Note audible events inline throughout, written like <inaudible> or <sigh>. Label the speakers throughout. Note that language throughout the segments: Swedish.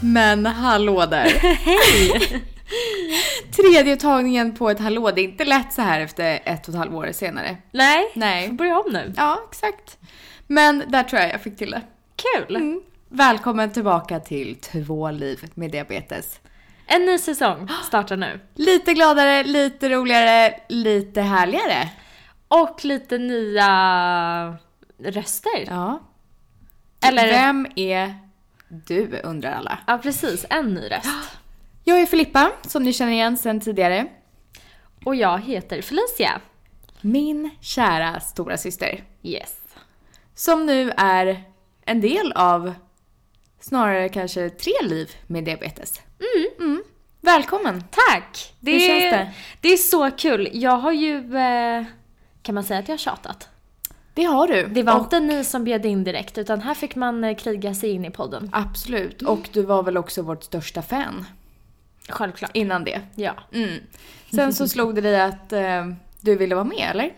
Speaker 1: Men hallå <laughs> där!
Speaker 2: Hej!
Speaker 1: Tredje tagningen på ett hallå. Det är inte lätt så här efter ett och ett halvt år senare.
Speaker 2: Nej,
Speaker 1: Nej.
Speaker 2: börja om nu.
Speaker 1: Ja, exakt. Men där tror jag jag fick till det.
Speaker 2: Kul!
Speaker 1: Mm. Välkommen tillbaka till Två liv med diabetes.
Speaker 2: En ny säsong startar nu.
Speaker 1: Lite gladare, lite roligare, lite härligare.
Speaker 2: Och lite nya röster.
Speaker 1: Ja.
Speaker 2: Eller-
Speaker 1: Vem är du undrar alla.
Speaker 2: Ja, precis. En ny röst.
Speaker 1: Jag är Filippa som ni känner igen sedan tidigare.
Speaker 2: Och jag heter Felicia.
Speaker 1: Min kära stora syster.
Speaker 2: Yes.
Speaker 1: Som nu är en del av snarare kanske tre liv med diabetes. Mm. Välkommen!
Speaker 2: Tack! Det,
Speaker 1: Hur
Speaker 2: är-
Speaker 1: känns det?
Speaker 2: Det är så kul. Jag har ju... eh, Kan man säga att jag har tjatat?
Speaker 1: Det har du.
Speaker 2: Det var
Speaker 1: Och,
Speaker 2: inte ni som bjöd in direkt, utan här fick man eh, kriga sig in i podden.
Speaker 1: absolut. Och du var väl också vårt största fan
Speaker 2: Självklart.
Speaker 1: innan det.
Speaker 2: Ja.
Speaker 1: Mm. Sen
Speaker 2: <laughs>
Speaker 1: så slog det dig att eh, du ville vara med, eller?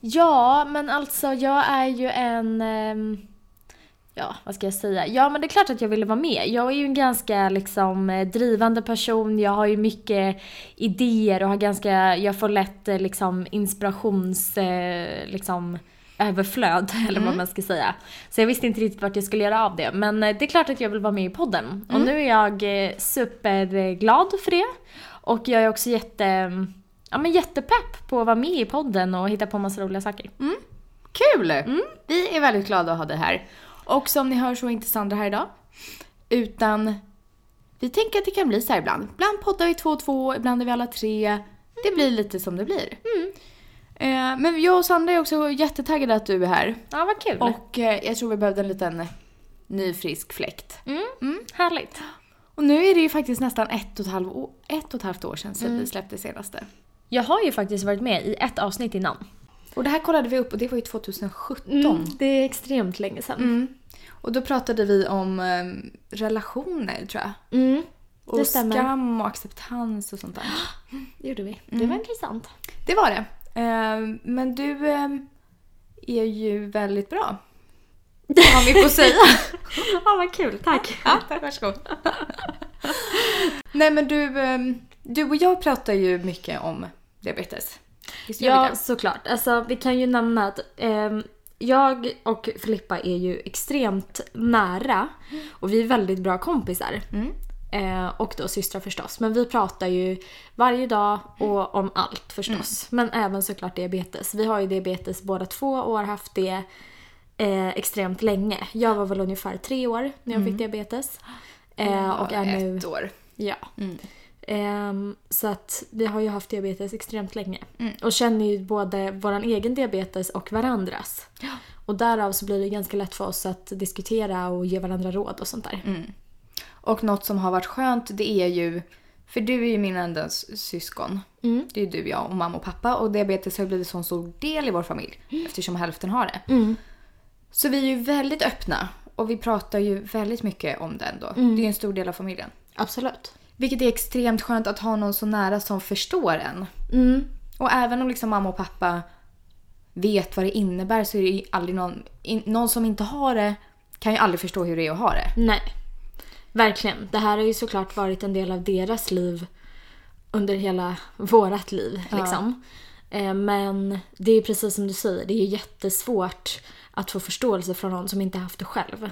Speaker 2: Ja, men alltså jag är ju en... ehm, Ja, vad ska jag säga? Ja, men det är klart att jag ville vara med. Jag är ju en ganska liksom eh, drivande person. Jag har ju mycket idéer och har ganska... Jag får lätt eh, liksom inspirations... eh, Liksom överflöd, <laughs> eller vad man ska säga. Så jag visste inte riktigt vart jag skulle göra av det. Men eh, det är klart att jag vill vara med i podden. Och nu är jag eh, superglad för det. Och jag är också jätte... Ja men jättepepp på att vara med i podden och hitta på massa roliga saker.
Speaker 1: Kul! Vi är väldigt glada att ha dig här. Och som ni hör så är inte Sandra här idag. Utan vi tänker att det kan bli så här ibland. Ibland poddar vi två och två, ibland är vi alla tre. Det blir lite som det blir. Eh, men jag och Sandra är också jättetaggade att du är här.
Speaker 2: Ja vad kul.
Speaker 1: Och eh, jag tror vi behövde en liten ny frisk fläkt.
Speaker 2: Mm. Härligt.
Speaker 1: Och nu är det ju faktiskt nästan ett och ett halvt år, ett och ett halvt år sedan, sedan vi släppte senaste.
Speaker 2: Jag har ju faktiskt varit med i ett avsnitt innan.
Speaker 1: Och det här kollade vi upp och det var ju 2017.
Speaker 2: Mm, Det är extremt länge sedan.
Speaker 1: Mm. Och då pratade vi om eh, relationer tror jag.
Speaker 2: Mm.
Speaker 1: Och
Speaker 2: Det stämmer.
Speaker 1: skam och acceptans och sånt där.
Speaker 2: Det gjorde vi. Det var intressant.
Speaker 1: Det var det. Ehm, Men du ehm, är ju väldigt
Speaker 2: <laughs>
Speaker 1: bra. Har vi på att säga.
Speaker 2: <laughs> Ja vad kul, tack.
Speaker 1: ja, <laughs> tack, varsågod. Nej men du, ehm, du och jag pratar ju mycket om diabetes. Visst gör vi
Speaker 2: Ja
Speaker 1: det?
Speaker 2: såklart. Alltså vi kan ju nämna att ehm, jag och Filippa är ju extremt nära och vi är väldigt bra kompisar.
Speaker 1: Mm.
Speaker 2: Eh, och då systrar förstås. Men vi pratar ju varje dag och om allt
Speaker 1: Mm.
Speaker 2: förstås. Men även såklart diabetes. Vi har ju diabetes båda två och har haft det eh, extremt länge. Jag var väl ungefär tre år när jag
Speaker 1: Mm.
Speaker 2: fick diabetes. Eh, och är nu...
Speaker 1: Ett år.
Speaker 2: Ja. Ehm, så att vi har ju haft diabetes extremt länge. Och känner ju både vår egen diabetes och varandras. Och därav så blir det ganska lätt för oss att diskutera och ge varandra råd och sånt där.
Speaker 1: Och något som har varit skönt det är ju, för du är ju min enda s- syskon.
Speaker 2: Mm.
Speaker 1: Det är ju du, jag och mamma och pappa. Och diabetes har ju blivit en sån stor del i vår familj
Speaker 2: Mm.
Speaker 1: eftersom hälften har det. Så vi är ju väldigt öppna och vi pratar ju väldigt mycket om det ändå.
Speaker 2: Mm.
Speaker 1: Det är ju en stor del av familjen.
Speaker 2: Absolut.
Speaker 1: Vilket är extremt skönt att ha någon så nära som förstår en.
Speaker 2: Mm.
Speaker 1: Och även om liksom mamma och pappa vet vad det innebär så är det ju aldrig någon, in, någon som inte har det kan ju aldrig förstå hur det är att ha det.
Speaker 2: Nej. Verkligen. Det här har ju såklart varit en del av deras liv under hela vårat liv. Liksom. Eh, Men det är precis som du säger, det är ju jättesvårt att få förståelse från någon som inte haft det själv.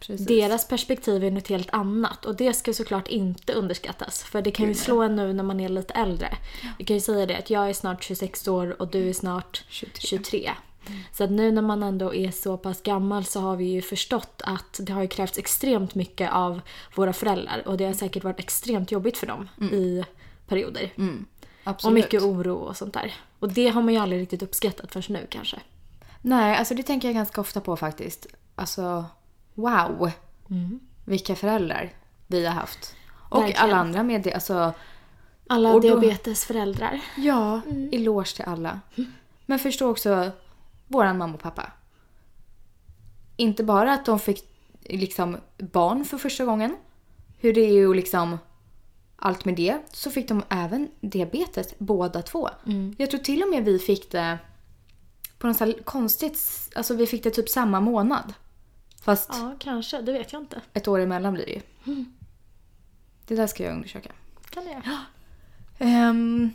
Speaker 1: Precis.
Speaker 2: Deras perspektiv är något helt annat och det ska såklart inte underskattas. För det kan ju slå en nu när man är lite äldre. Vi kan ju säga det att jag är snart 26 år och du är snart
Speaker 1: 23.
Speaker 2: 23. Så att nu när man ändå är så pass gammal så har vi ju förstått att det har ju krävts extremt mycket av våra föräldrar och det har säkert varit extremt jobbigt för dem i perioder.
Speaker 1: Absolut.
Speaker 2: Och mycket oro och sånt där. Och det har man ju aldrig riktigt uppskattat förrän nu kanske.
Speaker 1: Nej, alltså det tänker jag ganska ofta på faktiskt. Alltså, wow! Vilka föräldrar vi har haft. Och
Speaker 2: Verkligen.
Speaker 1: alla andra med det, alltså
Speaker 2: Alla
Speaker 1: Och då-
Speaker 2: diabetesföräldrar.
Speaker 1: Ja, eloge till alla. Men förstå också våran mamma och pappa. Inte bara att de fick liksom barn för första gången. Hur det är ju liksom allt med det. Så fick de även diabetes båda två. Jag tror till och med vi fick det på något så här konstigt, s- alltså vi fick det typ samma månad. Fast
Speaker 2: Ja, kanske. Det vet jag inte.
Speaker 1: ett år emellan blir det ju. Det där ska jag undersöka.
Speaker 2: Kan det göra.
Speaker 1: Ehm,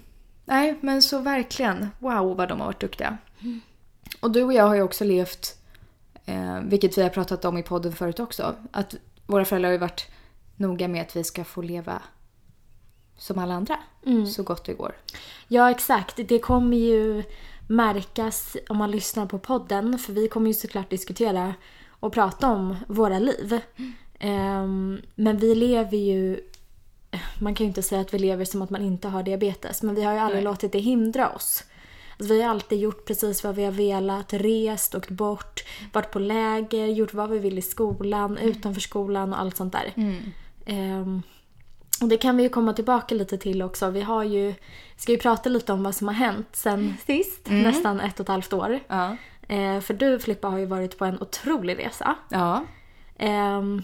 Speaker 1: nej, men så verkligen. Wow vad de har varit duktiga. Och du och jag har ju också levt, eh, vilket vi har pratat om i podden förut också, att våra föräldrar har ju varit noga med att vi ska få leva som alla andra. Så gott det går.
Speaker 2: Ja, exakt. Det kommer ju märkas om man lyssnar på podden. För vi kommer ju såklart diskutera och prata om våra liv. Ehm, men vi lever ju... Man kan ju inte säga att vi lever som att man inte har diabetes. Men vi har ju aldrig
Speaker 1: Nej.
Speaker 2: låtit det hindra oss. Alltså, vi har alltid gjort precis vad vi har velat. Rest, åkt bort, varit på läger, gjort vad vi vill i skolan, utanför skolan och allt sånt där. Ehm, och det kan vi ju komma tillbaka lite till också. Vi har ju, ska ju prata lite om vad som har hänt sen sist, nästan ett och ett halvt år.
Speaker 1: Ja.
Speaker 2: Eh, för du Filippa har ju varit på en otrolig resa.
Speaker 1: Ja.
Speaker 2: Ehm,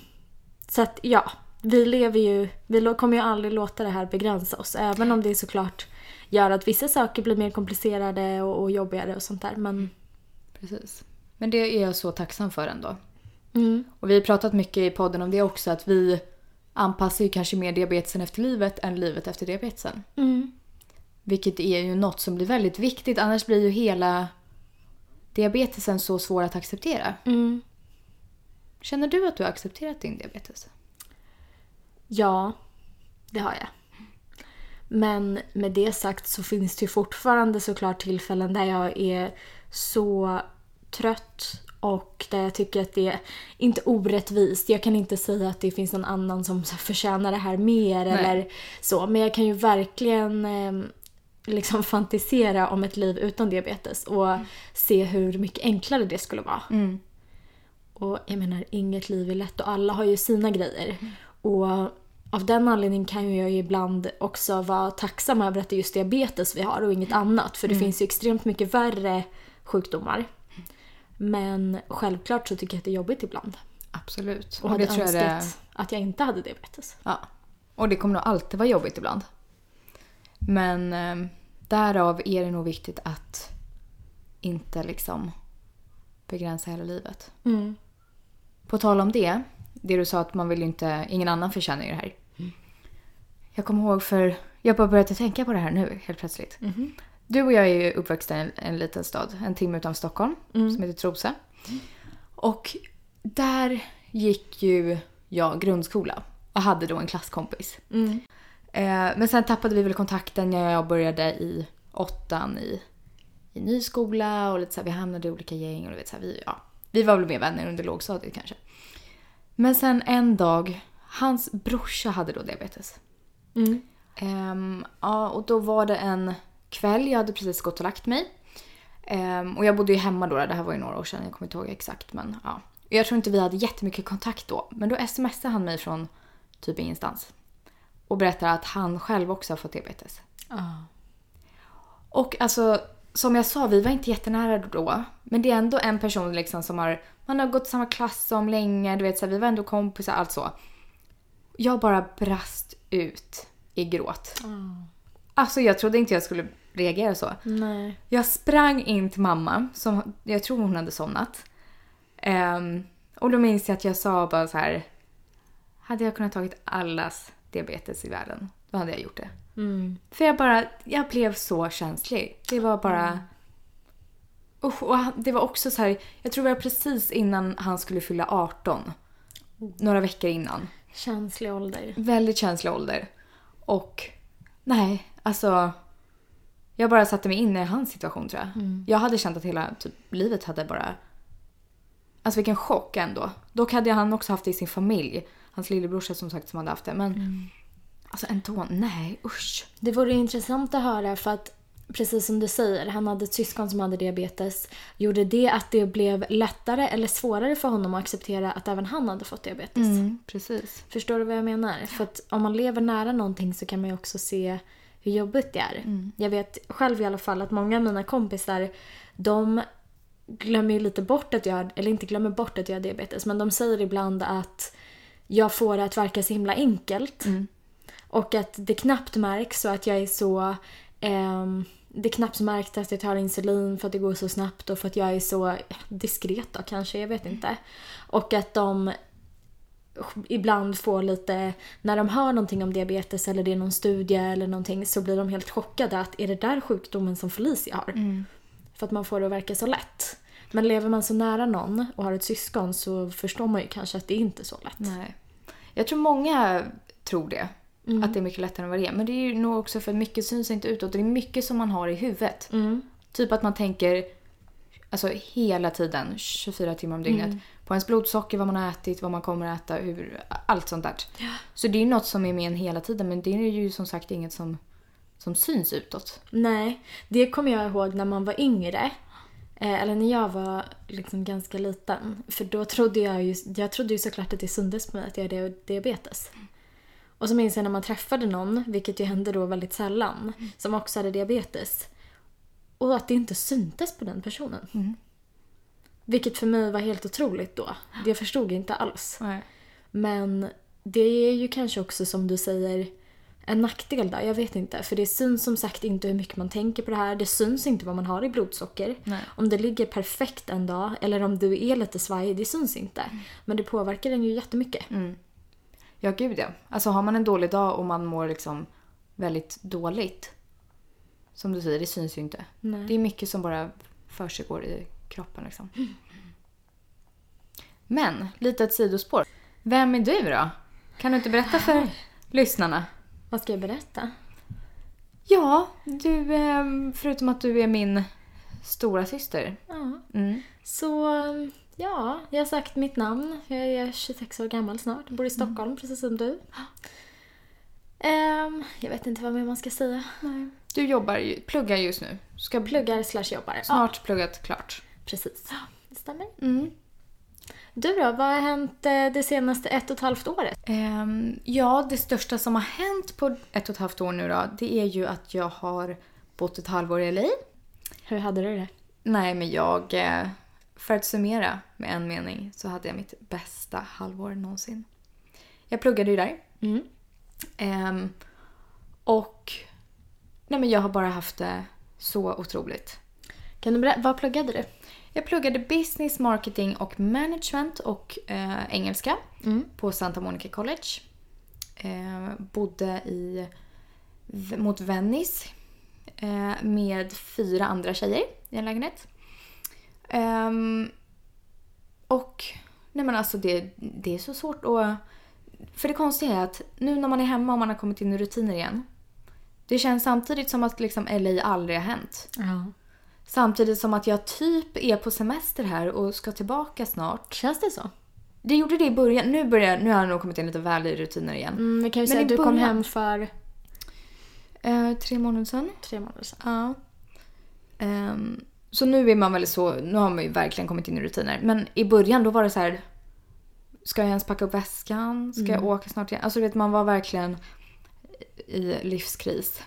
Speaker 2: så att ja, vi lever ju, vi lo- kommer ju aldrig låta det här begränsa oss. Även om det såklart gör att vissa saker blir mer komplicerade och, och jobbigare och sånt där. Men
Speaker 1: Precis. Men det är jag så tacksam för ändå.
Speaker 2: Mm.
Speaker 1: Och vi har pratat mycket i podden om det också, att vi anpassar ju kanske mer diabetesen efter livet än livet efter diabetesen.
Speaker 2: Mm,
Speaker 1: Vilket är ju något som blir väldigt viktigt, annars blir ju hela diabetesen så svår att acceptera.
Speaker 2: mm,
Speaker 1: Känner du att du har accepterat din diabetes?
Speaker 2: Ja, det har jag. Men med det sagt så finns det ju fortfarande såklart tillfällen där jag är så trött och där jag tycker att det är inte orättvist. Jag kan inte säga att det finns någon annan som så här förtjänar det här mer eller så. Men jag kan ju verkligen eh, liksom fantisera om ett liv utan diabetes och se hur mycket enklare det skulle vara.
Speaker 1: Mm.
Speaker 2: Och jag menar, inget liv är lätt och alla har ju sina grejer. Och av den anledningen kan ju jag ju ibland också vara tacksam över att det är just diabetes vi har och inget annat.
Speaker 1: Mm.
Speaker 2: För det finns ju extremt mycket värre sjukdomar. Men självklart så tycker jag att det är jobbigt ibland.
Speaker 1: Absolut.
Speaker 2: Och
Speaker 1: Och det
Speaker 2: hade
Speaker 1: tror
Speaker 2: önskat
Speaker 1: jag det...
Speaker 2: att jag inte hade diabetes.
Speaker 1: Ja. Och det kommer nog alltid vara jobbigt ibland. Men eh, därav är det nog viktigt att inte liksom begränsa hela livet. På tal om det, det du sa att man vill ju inte, ingen annan förtjänar ju det här. Jag kommer ihåg för, jag bara började tänka på det här nu helt plötsligt. Du och jag är ju uppväxta i en, en liten stad, en timme utanför Stockholm, som heter Trosa. Och där gick ju jag grundskola och hade då en klasskompis. Eh, men sen tappade vi väl kontakten när jag började i åttan i, i ny skola och lite så här, vi hamnade i olika gäng och du vet så här, vi, ja, vi var väl mer vänner under lågstadiet kanske. Men sen en dag, hans brorsa hade då diabetes.
Speaker 2: Mm.
Speaker 1: Ehm, ja, och då var det en kväll, jag hade precis gått och lagt mig. Ehm, och jag bodde ju hemma då, det här var ju några år sedan, jag kommer inte ihåg exakt men ja. Och Jag tror inte vi hade jättemycket kontakt då, men då smsade han mig från typ ingenstans. Och berättade att han själv också har fått diabetes. Ah. Och alltså, som jag sa, vi var inte jättenära då. Men det är ändå en person liksom som har, man har gått samma klass som länge, du vet så här, vi var ändå kompisar, allt så. Jag bara brast ut i gråt. Alltså jag trodde inte jag skulle reagera så.
Speaker 2: Nej.
Speaker 1: Jag sprang in till mamma, som jag tror hon hade somnat. Ehm, och då minns jag att jag sa bara så här. Hade jag kunnat tagit allas diabetes i världen, då hade jag gjort det. För jag bara, jag blev så känslig. Det var bara... Usch, och han- det var också så här, jag tror det var precis innan han skulle fylla 18. Några veckor innan.
Speaker 2: Känslig ålder.
Speaker 1: Väldigt känslig ålder. Och nej, alltså. Jag bara satte mig in i hans situation tror jag. Jag hade känt att hela typ, livet hade bara... Alltså vilken chock ändå. Dock hade han också haft det i sin familj. Hans lillebrorsa som sagt som hade haft det. Men alltså ändå, nej usch.
Speaker 2: Det vore intressant att höra för att precis som du säger, han hade ett syskon som hade diabetes. Gjorde det att det blev lättare eller svårare för honom att acceptera att även han hade fått diabetes?
Speaker 1: Precis.
Speaker 2: Förstår du vad jag menar? För att om man lever nära någonting så kan man ju också se hur jobbigt det är. Jag vet själv i alla fall att många av mina kompisar de glömmer ju lite bort att jag har, eller inte glömmer bort att jag har diabetes, men de säger ibland att jag får det att verka så himla enkelt. Och att det knappt märks och att jag är så... ehm, det är knappt märkt att jag tar insulin för att det går så snabbt och för att jag är så diskret då kanske, jag vet inte. Och att de ibland får lite, när de hör någonting om diabetes eller det är någon studie eller någonting så blir de helt chockade att är det där sjukdomen som Felicia har? För att man får det att verka så lätt. Men lever man så nära någon och har ett syskon så förstår man ju kanske att det är inte är så lätt.
Speaker 1: Nej. Jag tror många tror det. Att det är mycket lättare än vad det är. Men det är ju nog också för att mycket syns inte utåt. Det är mycket som man har i huvudet.
Speaker 2: Mm.
Speaker 1: Typ att man tänker alltså, hela tiden, 24 timmar om dygnet, på ens blodsocker, vad man har ätit, vad man kommer att äta, hur, allt sånt där. Så det är ju något som är med en hela tiden men det är ju som sagt inget som, som syns utåt.
Speaker 2: Nej, det kommer jag ihåg när man var yngre. Eh, Eller när jag var liksom ganska liten. För då trodde jag ju, jag trodde ju såklart att det syndes på mig att jag hade diabetes. Och så minns jag när man träffade någon, vilket ju hände då väldigt sällan, som också hade diabetes. Och att det inte syntes på den personen. Vilket för mig var helt otroligt då. Jag förstod inte alls.
Speaker 1: Nej.
Speaker 2: Men det är ju kanske också som du säger en nackdel där, jag vet inte. För det syns som sagt inte hur mycket man tänker på det här. Det syns inte vad man har i blodsocker.
Speaker 1: Nej.
Speaker 2: Om det ligger perfekt en dag eller om du är lite svajig, det syns inte. Men det påverkar den ju jättemycket.
Speaker 1: Ja, gud ja. Alltså har man en dålig dag och man mår liksom väldigt dåligt. Som du säger, det syns ju inte.
Speaker 2: Nej.
Speaker 1: Det är mycket som bara försiggår i kroppen liksom. Men, lite ett sidospår. Vem är du då? Kan du inte berätta för lyssnarna?
Speaker 2: Vad ska jag berätta?
Speaker 1: Ja, du, eh, förutom att du är min stora syster.
Speaker 2: Ja.
Speaker 1: Mm.
Speaker 2: Så ja, jag har sagt mitt namn. Jag är 26 år gammal snart. Bor i Stockholm precis som du. Ehm, jag vet inte vad mer man ska säga.
Speaker 1: Du jobbar, ju- pluggar just nu. Ska pl-
Speaker 2: Pluggar slash jobbar.
Speaker 1: snart pluggat klart.
Speaker 2: Precis. Det stämmer.
Speaker 1: Mm.
Speaker 2: Du då, vad har hänt eh, det senaste ett och ett halvt året?
Speaker 1: Ehm, ja, det största som har hänt på ett och ett halvt år nu då, det är ju att jag har bott ett halvår i LA.
Speaker 2: Hur hade du det?
Speaker 1: Nej, men jag... eh, För att summera med en mening så hade jag mitt bästa halvår någonsin. Jag pluggade ju där.
Speaker 2: Mm.
Speaker 1: Ehm, och... Nej, men jag har bara haft det så otroligt.
Speaker 2: Kan du berätta, vad pluggade du?
Speaker 1: Jag pluggade business, marketing och management och eh, engelska
Speaker 2: Mm.
Speaker 1: på Santa Monica College. Eh, bodde i, v- mot Venice eh, med fyra andra tjejer i en lägenhet. Ehm, och nej men alltså det, det är så svårt att... För det konstiga är att nu när man är hemma och man har kommit in i rutiner igen. Det känns samtidigt som att liksom LA aldrig har hänt.
Speaker 2: Ja.
Speaker 1: Samtidigt som att jag typ är på semester här och ska tillbaka snart.
Speaker 2: Känns det så?
Speaker 1: Det gjorde det i början. Nu, börjar, nu har jag nog kommit in lite väl i rutiner igen.
Speaker 2: Mm, vi kan
Speaker 1: Men
Speaker 2: ju säga
Speaker 1: i
Speaker 2: att du kom
Speaker 1: början-
Speaker 2: hem för
Speaker 1: Eh, tre månader sedan.
Speaker 2: tre månader sedan.
Speaker 1: Ja. Ehm, så nu är man väl så, nu har man ju verkligen kommit in i rutiner. Men i början då var det så här. Ska jag ens packa upp väskan? Ska jag åka snart igen? Alltså du vet man var verkligen i livskris.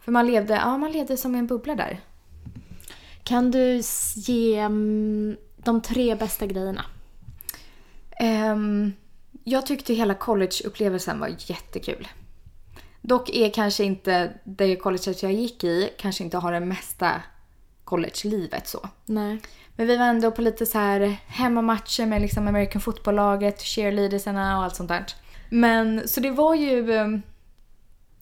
Speaker 1: För man levde, ja man levde som i en bubbla där.
Speaker 2: Kan du s- ge mm, de tre bästa grejerna?
Speaker 1: Ehm, jag tyckte hela collegeupplevelsen var jättekul. Dock är kanske inte det colleget jag gick i kanske inte har det mesta college-livet så.
Speaker 2: Nej.
Speaker 1: Men vi var ändå på lite så här hemmamatcher med liksom American football-laget, cheerleadersarna och allt sånt där. Men så det var ju eh,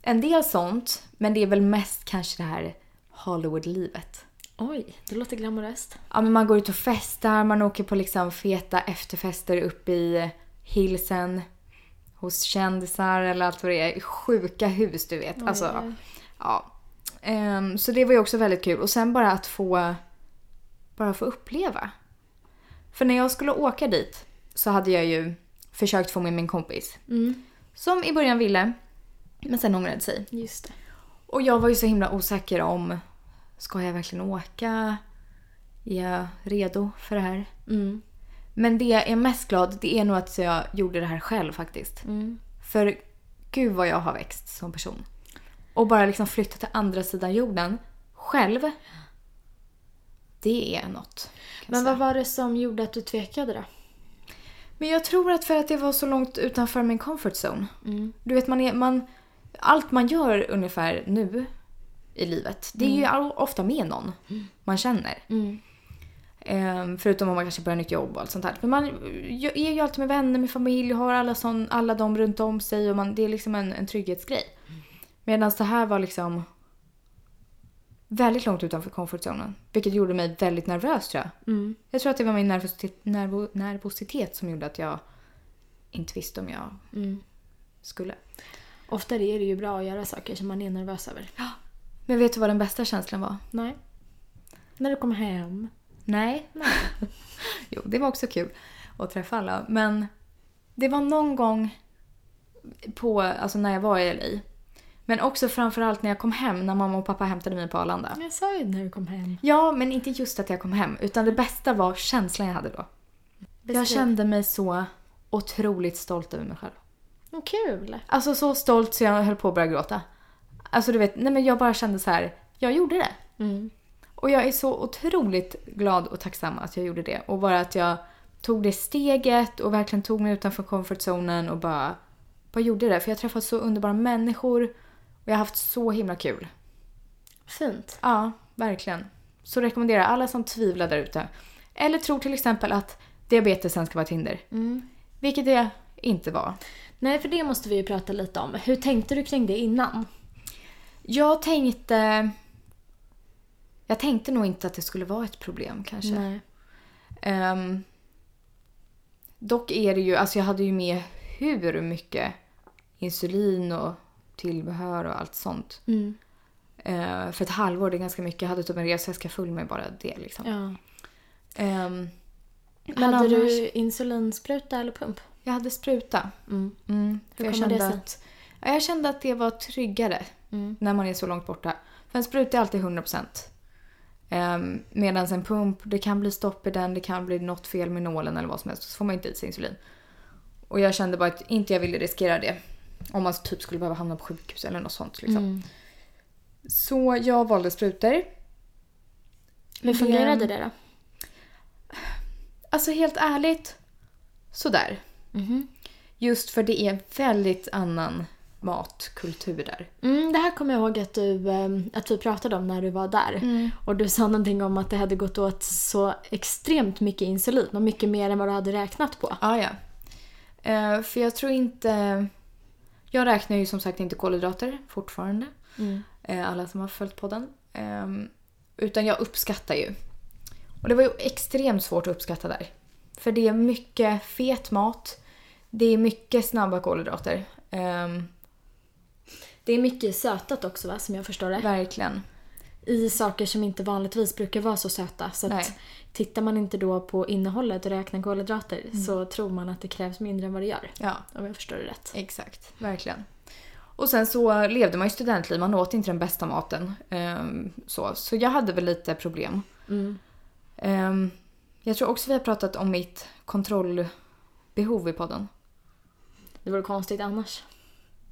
Speaker 1: en del sånt, men det är väl mest kanske det här Hollywood-livet.
Speaker 2: Oj, det låter glamoröst.
Speaker 1: Ja, men man går ut och festar, man åker på liksom feta efterfester uppe i hillsen hos kändisar eller allt vad det är. Sjuka hus, du vet.
Speaker 2: oj,
Speaker 1: Alltså,
Speaker 2: oj.
Speaker 1: ja. Ehm, så det var ju också väldigt kul. Och sen bara att få, bara få uppleva. För när jag skulle åka dit så hade jag ju försökt få med min kompis.
Speaker 2: Mm.
Speaker 1: Som i början ville, men sen ångrade sig.
Speaker 2: Just det.
Speaker 1: Och jag var ju så himla osäker om, ska jag verkligen åka? Är jag redo för det här?
Speaker 2: Mm.
Speaker 1: Men det jag är mest glad, det är nog att jag gjorde det här själv faktiskt. För gud vad jag har växt som person. och bara liksom flytta till andra sidan jorden själv. Det är något. kan jag
Speaker 2: Men
Speaker 1: säga.
Speaker 2: vad var det som gjorde att du tvekade då?
Speaker 1: Men jag tror att för att det var så långt utanför min comfort zone. Du vet, man är, man, allt man gör ungefär nu i livet, det är ju all- ofta med någon man känner. Ehm, förutom om man kanske börjar nytt jobb och allt sånt där. Men man jag är ju alltid med vänner, med familj och har alla, sån, alla dem runt om sig. Och man, det är liksom en, en trygghetsgrej. Medan det här var liksom väldigt långt utanför comfortzonen. Vilket gjorde mig väldigt nervös tror jag. Jag tror att det var min nervositet, nervo, nervositet som gjorde att jag inte visste om jag skulle.
Speaker 2: Ofta är det ju bra att göra saker som man är nervös över.
Speaker 1: Men vet du vad den bästa känslan var?
Speaker 2: Nej. När du kom hem.
Speaker 1: Nej. <laughs> nej. jo, det var också kul att träffa alla. Men det var någon gång på, alltså när jag var i LA. Men också framförallt när jag kom hem, när mamma och pappa hämtade mig på Arlanda.
Speaker 2: Jag sa ju när du kom hem.
Speaker 1: Ja, men inte just att jag kom hem. Utan det bästa var känslan jag hade då. Jag kände mig så otroligt stolt över mig själv.
Speaker 2: Mm, Kul!
Speaker 1: Alltså så stolt så jag höll på att börja gråta. Alltså du vet, nej men jag bara kände så här, jag gjorde det. Och jag är så otroligt glad och tacksam att jag gjorde det. Och bara att jag tog det steget och verkligen tog mig utanför comfortzonen och bara, bara gjorde det. För jag har träffat så underbara människor och jag har haft så himla kul.
Speaker 2: Fint.
Speaker 1: Ja, verkligen. Så rekommenderar jag alla som tvivlar där ute. Eller tror till exempel att diabetesen ska vara Tinder.
Speaker 2: Mm.
Speaker 1: Vilket det inte var.
Speaker 2: Nej, för det måste vi ju prata lite om. Hur tänkte du kring det innan?
Speaker 1: Jag tänkte... Jag tänkte nog inte att det skulle vara ett problem kanske.
Speaker 2: Nej.
Speaker 1: Ehm, dock är det ju, alltså jag hade ju med hur mycket insulin och tillbehör och allt sånt.
Speaker 2: Mm.
Speaker 1: Ehm, för ett halvår, det är ganska mycket. Jag hade typ en resväska full med bara det liksom.
Speaker 2: Ja.
Speaker 1: Ehm,
Speaker 2: Men Hade du insulinspruta eller pump?
Speaker 1: Jag hade spruta.
Speaker 2: Mm.
Speaker 1: Mm, för
Speaker 2: Hur
Speaker 1: jag,
Speaker 2: kommer
Speaker 1: kände
Speaker 2: det sig? Mm.
Speaker 1: att, ja, jag kände att det var tryggare när man är så långt borta. För en spruta är alltid 100%. Um, Medan en pump, det kan bli stopp i den, det kan bli något fel med nålen eller vad som helst. Så får man inte i sig insulin. Och jag kände bara att inte jag ville riskera det. Om man typ skulle behöva hamna på sjukhus eller något sånt. Liksom.
Speaker 2: Mm.
Speaker 1: Så jag valde sprutor.
Speaker 2: Hur fungerade det då?
Speaker 1: Alltså helt ärligt, sådär. Mhm. Just för det är en väldigt annan matkultur där.
Speaker 2: Mm, det här kommer jag ihåg att, du, ehm, att vi pratade om när du var där. Och du sa någonting om att det hade gått åt så extremt mycket insulin och mycket mer än vad du hade räknat på.
Speaker 1: Ah, ja. Eh, för jag tror inte... Jag räknar ju som sagt inte kolhydrater fortfarande. Eh, alla som har följt podden. Ehm, utan jag uppskattar ju. Och det var ju extremt svårt att uppskatta där. För det är mycket fet mat. Det är mycket snabba kolhydrater. Ehm,
Speaker 2: Det är mycket sötat också va, som jag förstår det.
Speaker 1: verkligen.
Speaker 2: I saker som inte vanligtvis brukar vara så söta. Så att
Speaker 1: Nej.
Speaker 2: tittar man inte då på innehållet och räknar kolhydrater så tror man att det krävs mindre än vad det gör.
Speaker 1: Ja.
Speaker 2: Om jag förstår det rätt.
Speaker 1: Exakt, verkligen. Och sen så levde man ju studentliv, man åt inte den bästa maten. Ehm, så. så jag hade väl lite problem. Ehm, jag tror också vi har pratat om mitt kontrollbehov i podden.
Speaker 2: Det vore konstigt annars.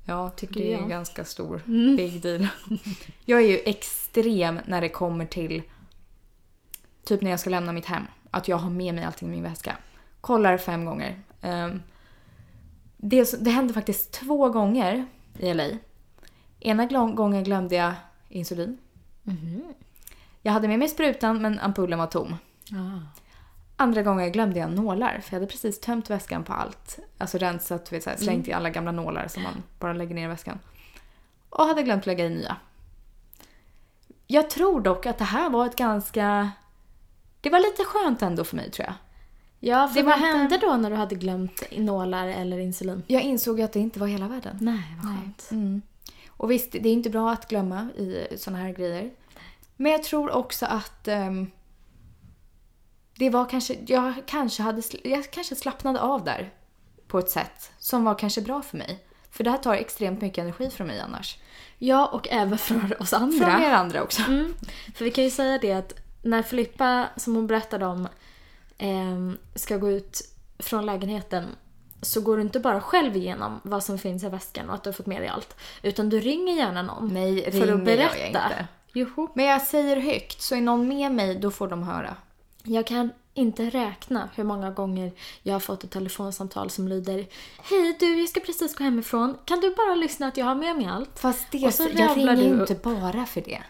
Speaker 1: Ja, tycker det är Mm.
Speaker 2: jag.
Speaker 1: en ganska stor big deal. <laughs> jag är ju extrem när det kommer till typ när jag ska lämna mitt hem. Att jag har med mig allting i min väska. Kollar fem gånger. Ehm, det, så- det hände faktiskt två gånger i LA. Ena glå- gången glömde jag insulin. Mhm. Jag hade med mig sprutan men ampullen var tom.
Speaker 2: Ah.
Speaker 1: Andra gången glömde jag nålar för jag hade precis tömt väskan på allt. Alltså rensat, du vet, så här, slängt i alla gamla nålar som man bara lägger ner i väskan. Och hade glömt lägga i nya. Jag tror dock att det här var ett ganska... Det var lite skönt ändå för mig tror jag.
Speaker 2: Ja, för
Speaker 1: Det var
Speaker 2: vad
Speaker 1: inte-
Speaker 2: hände då när du hade glömt nålar eller insulin?
Speaker 1: Jag insåg ju att det inte var hela världen.
Speaker 2: Nej, vad skönt.
Speaker 1: Mm. Och visst, det är inte bra att glömma i såna här grejer. Men jag tror också att ehm, det var kanske, jag, kanske hade, sl- jag kanske slappnade av där på ett sätt som var kanske bra för mig. För det här tar extremt mycket energi från mig annars.
Speaker 2: Ja, och även för oss andra.
Speaker 1: Från er andra också.
Speaker 2: Mm. För vi kan ju säga det att när Filippa, som hon berättade om, ehm, ska gå ut från lägenheten så går du inte bara själv igenom vad som finns i väskan och att du har fått med dig allt. Utan du ringer gärna någon
Speaker 1: Nej,
Speaker 2: för
Speaker 1: ringer
Speaker 2: att
Speaker 1: jag
Speaker 2: berätta.
Speaker 1: inte.
Speaker 2: Joho.
Speaker 1: Men jag säger högt, så är någon med mig då får de höra.
Speaker 2: Jag kan inte räkna hur många gånger jag har fått ett telefonsamtal som lyder Hej du, jag ska precis gå hemifrån. Kan du bara lyssna att jag har med mig allt?
Speaker 1: Fast det,
Speaker 2: Och så
Speaker 1: jag
Speaker 2: rabblar
Speaker 1: ringer
Speaker 2: du
Speaker 1: ju
Speaker 2: upp.
Speaker 1: inte bara för det.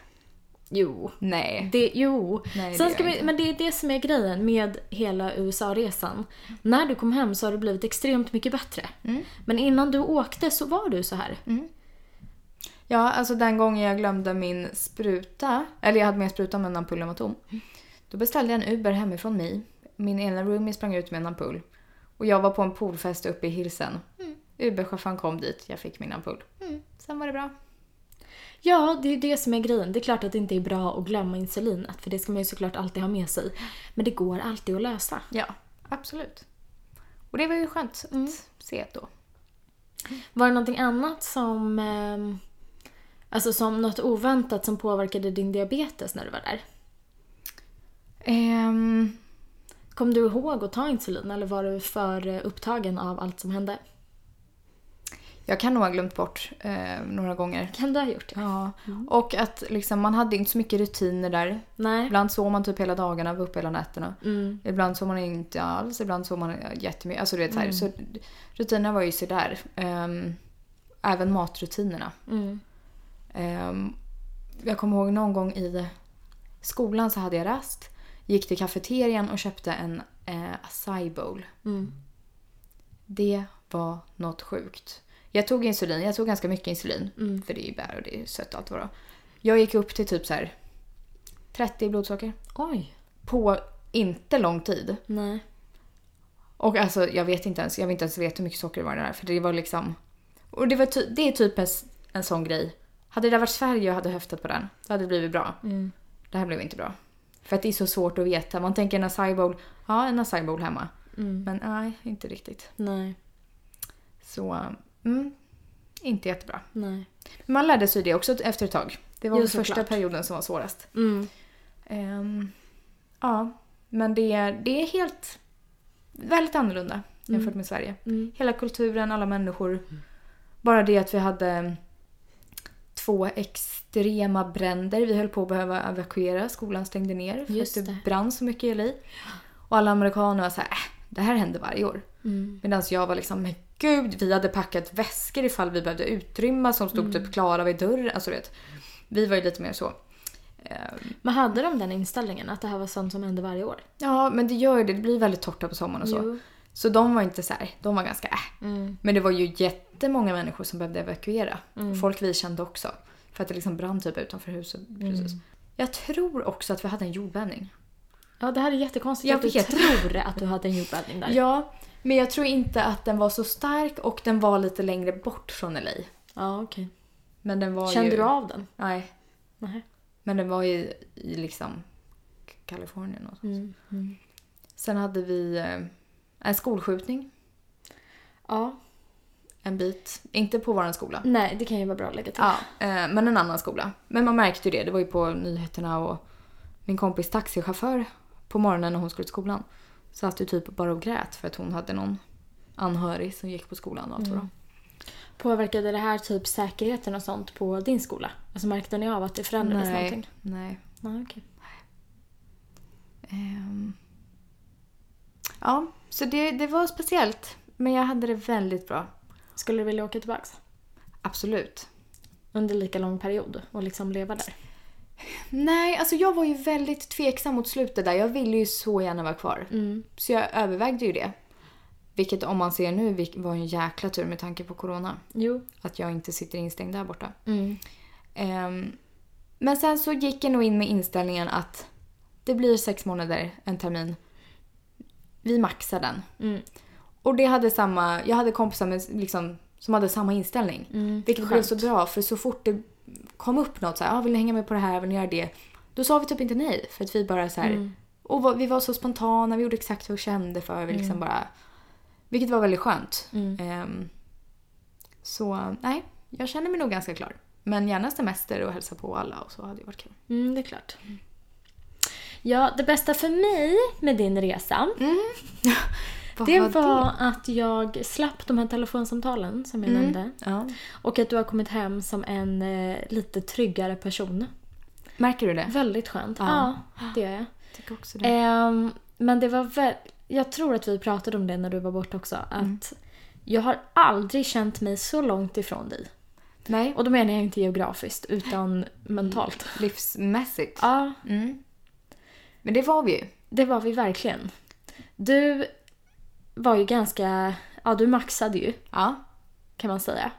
Speaker 2: Jo.
Speaker 1: Nej.
Speaker 2: Det, jo.
Speaker 1: Nej, det
Speaker 2: Sen
Speaker 1: gör
Speaker 2: ska
Speaker 1: jag
Speaker 2: vi,
Speaker 1: inte.
Speaker 2: men det är det som är grejen med hela USA-resan. När du kom hem så har du blivit extremt mycket bättre.
Speaker 1: Mm.
Speaker 2: Men innan du åkte så var du så här.
Speaker 1: Ja, alltså den gången jag glömde min spruta, eller jag hade med spruta men ampullen var tom. Då beställde jag en Uber hemifrån mig. Min ena roomie sprang ut med en ampull. Och jag var på en poolfest uppe i Hilsen. Uberchauffören kom dit, jag fick min ampull. Sen var det bra.
Speaker 2: Ja, det är det som är grejen. Det är klart att det inte är bra att glömma insulinet. För det ska man ju såklart alltid ha med sig. Men det går alltid att lösa.
Speaker 1: Ja, Mm. absolut. Och det var ju skönt att se då.
Speaker 2: Var det någonting annat som... ehm, Alltså som något oväntat som påverkade din diabetes när du var där?
Speaker 1: Ehm,
Speaker 2: Kom du ihåg att ta insulin eller var du för eh, upptagen av allt som hände?
Speaker 1: jag kan nog ha glömt bort eh, några gånger.
Speaker 2: Kan du ha gjort det?
Speaker 1: Ja. Och att liksom, man hade inte så mycket rutiner där.
Speaker 2: Nej.
Speaker 1: Ibland sov man typ hela dagarna, var uppe hela nätterna.
Speaker 2: Mm.
Speaker 1: Ibland sov man inte alls, ibland sov man jättemycket. Alltså, du vet, så här. Så rutinerna var ju sådär. Um, även matrutinerna.
Speaker 2: Mm.
Speaker 1: Ehm, jag kommer ihåg någon gång i skolan så hade jag rast. Gick till kafeterian och köpte en eh, acai bowl.
Speaker 2: Mm.
Speaker 1: Det var något sjukt. Jag tog insulin, jag tog ganska mycket insulin. För det är ju bär och det är sött och allt vad det var. Jag gick upp till typ så här 30 i blodsocker.
Speaker 2: Oj.
Speaker 1: På inte lång tid.
Speaker 2: Nej.
Speaker 1: Och alltså jag vet inte ens, jag vill inte ens veta hur mycket socker det var i det där. För det var liksom... Och det, var ty- det är typ en, s- en sån grej. Hade det där varit Sverige och hade höftat på den, då hade det blivit bra.
Speaker 2: Mm,
Speaker 1: Det här blev inte bra. För att det är så svårt att veta. Man tänker en acai bowl, ja en acai bowl hemma. Men nej, inte riktigt.
Speaker 2: mm. Nej.
Speaker 1: Så, mm, inte jättebra.
Speaker 2: Nej.
Speaker 1: Men Man lärde sig det också efter ett tag. Det var
Speaker 2: Jo,
Speaker 1: väl första
Speaker 2: såklart.
Speaker 1: perioden som var svårast.
Speaker 2: Mm.
Speaker 1: Ehm, ja, men det, är- det är helt... Väldigt annorlunda jämfört med Sverige.
Speaker 2: Mm.
Speaker 1: Hela kulturen, alla människor. Bara det att vi hade två extrema bränder. Vi höll på att behöva evakuera. Skolan stängde ner för
Speaker 2: Just
Speaker 1: att det
Speaker 2: det.
Speaker 1: brann så mycket i LA. Och alla amerikaner var så här, äh, det här händer varje år.
Speaker 2: Mm.
Speaker 1: Medan jag var liksom, men gud, vi hade packat väskor ifall vi behövde utrymma som stod
Speaker 2: Mm.
Speaker 1: typ klara vid dörren. Alltså, du vet, vi var ju lite mer så.
Speaker 2: Men hade de den inställningen att det här var sånt som hände varje år?
Speaker 1: Ja, men det gör ju det. Det blir väldigt torrt här på sommaren och så.
Speaker 2: Jo.
Speaker 1: Så de var inte så här, de var ganska äh.
Speaker 2: Mm.
Speaker 1: Men det var ju jättemånga människor som behövde evakuera. Folk vi kände också. För att det liksom brann typ utanför huset.
Speaker 2: Mm.
Speaker 1: Precis. Jag tror också att vi hade en jordbävning.
Speaker 2: Ja, det här är jättekonstigt
Speaker 1: Jag
Speaker 2: att du
Speaker 1: vet.
Speaker 2: tror att du hade en jordbävning där.
Speaker 1: Ja, men jag tror inte att den var så stark och den var lite längre bort från LA.
Speaker 2: ja okej.
Speaker 1: Men den var ju...
Speaker 2: Kände du av den?
Speaker 1: Nej,
Speaker 2: Nej.
Speaker 1: men den var ju i liksom Kalifornien och
Speaker 2: Mm.
Speaker 1: Sen hade vi eh, en skolskjutning
Speaker 2: Ja.
Speaker 1: en bit. Inte på vår skola.
Speaker 2: Nej, det kan ju vara bra att lägga till.
Speaker 1: Ja, eh, men en annan skola. Men man märkte ju det, det var ju på nyheterna och min kompis taxichaufför på morgonen när hon skulle till skolan satt ju typ bara och grät för att hon hade någon anhörig som gick på skolan och allt vad det var.
Speaker 2: Påverkade det här typ säkerheten och sånt på din skola? Alltså märkte ni av att det förändrades
Speaker 1: Nej,
Speaker 2: någonting?
Speaker 1: nej.
Speaker 2: Nej. okej.
Speaker 1: Ehm. Ja, så det, det var speciellt. Men jag hade det väldigt bra.
Speaker 2: Skulle du vilja åka tillbaka?
Speaker 1: Absolut.
Speaker 2: Under lika lång period och liksom leva där?
Speaker 1: Nej, alltså jag var ju väldigt tveksam mot slutet där. Jag ville ju så gärna vara kvar. Så jag övervägde ju det. Vilket om man ser nu vilk- var en jäkla tur med tanke på corona.
Speaker 2: Jo.
Speaker 1: Att jag inte sitter instängd där borta.
Speaker 2: Mm.
Speaker 1: Ehm, men sen så gick jag nog in med inställningen att det blir sex månader, en termin. Vi maxar den.
Speaker 2: Mm.
Speaker 1: Och det hade samma, jag hade kompisar med, liksom, som hade samma inställning.
Speaker 2: Mm,
Speaker 1: Vilket blev så bra för så fort det kom upp något så här, ah, vill ni hänga med på det här, vill ni göra det? Då sa vi typ inte nej för att vi bara så här,
Speaker 2: Mm.
Speaker 1: och vad- vi var så spontana, vi gjorde exakt vad vi kände för, vi
Speaker 2: Mm.
Speaker 1: liksom bara, vilket var väldigt skönt. Ehm, så nej, jag känner mig nog ganska klar. Men gärna semester och hälsa på alla och så hade det varit kul.
Speaker 2: Mm, det är klart. Ja, det bästa för mig med din resa
Speaker 1: Mm. Vad
Speaker 2: Det
Speaker 1: var
Speaker 2: var att jag slapp de här telefonsamtalen som
Speaker 1: Mm.
Speaker 2: jag nämnde.
Speaker 1: Ja.
Speaker 2: Och att du har kommit hem som en eh, lite tryggare person.
Speaker 1: Märker du det? Eh,
Speaker 2: Väldigt skönt. Ja,
Speaker 1: Ja.
Speaker 2: det gör jag.
Speaker 1: Jag tycker också det.
Speaker 2: Ehm, men det var väl... Jag tror att vi pratade om det när du var borta också. Att jag har aldrig känt mig så långt ifrån dig.
Speaker 1: Nej.
Speaker 2: Och då menar jag inte geografiskt, utan mentalt.
Speaker 1: Mm. Livsmässigt.
Speaker 2: Ja,
Speaker 1: Mm. Men det var vi ju.
Speaker 2: det var vi verkligen. Du var ju ganska... Ja, du maxade ju
Speaker 1: Ja.
Speaker 2: kan man säga.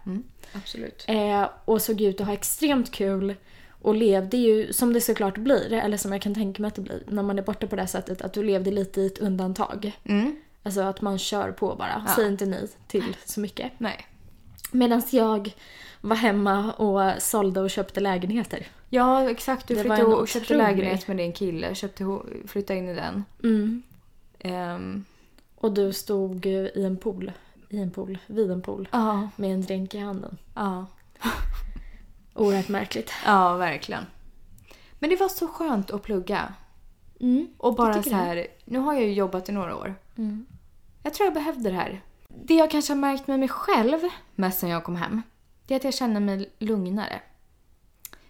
Speaker 1: Absolut.
Speaker 2: Eh, och såg ut att ha extremt kul och levde ju som det såklart blir, eller som jag kan tänka mig att det blir när man är borta på det här sättet, att du levde lite i ett undantag.
Speaker 1: Mm.
Speaker 2: Alltså att man kör på bara,
Speaker 1: Ja.
Speaker 2: säger inte nej till så mycket.
Speaker 1: Nej.
Speaker 2: Medan jag var hemma och sålde och köpte lägenheter.
Speaker 1: Ja, exakt. Du
Speaker 2: Det
Speaker 1: flyttade
Speaker 2: var en
Speaker 1: och köpte
Speaker 2: otrolig-
Speaker 1: lägenhet med din kille. Köpte, ho- flyttade in i den.
Speaker 2: Mm.
Speaker 1: Ehm,
Speaker 2: Och du stod eh, i en pool, i en pool, vid en pool,
Speaker 1: Ja.
Speaker 2: med en drink i handen.
Speaker 1: Ja.
Speaker 2: Oerhört märkligt.
Speaker 1: Ja, verkligen. Men det var så skönt att plugga.
Speaker 2: Mm.
Speaker 1: Och bara
Speaker 2: tycker Mm.
Speaker 1: så här, nu har jag ju jobbat i några år. Jag tror jag behövde det här. Det jag kanske har märkt med mig själv mest sen jag kom hem, det är att jag känner mig lugnare.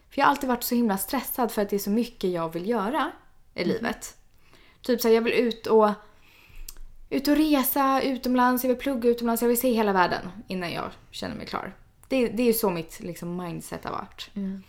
Speaker 1: För jag har alltid varit så himla stressad för att det är så mycket jag vill göra i
Speaker 2: Mm.
Speaker 1: livet. Typ så här, jag vill ut och, ut och resa utomlands, jag vill plugga utomlands, jag vill se hela världen innan jag känner mig klar. Det, det är ju så mitt liksom, mindset har varit.
Speaker 2: Mm.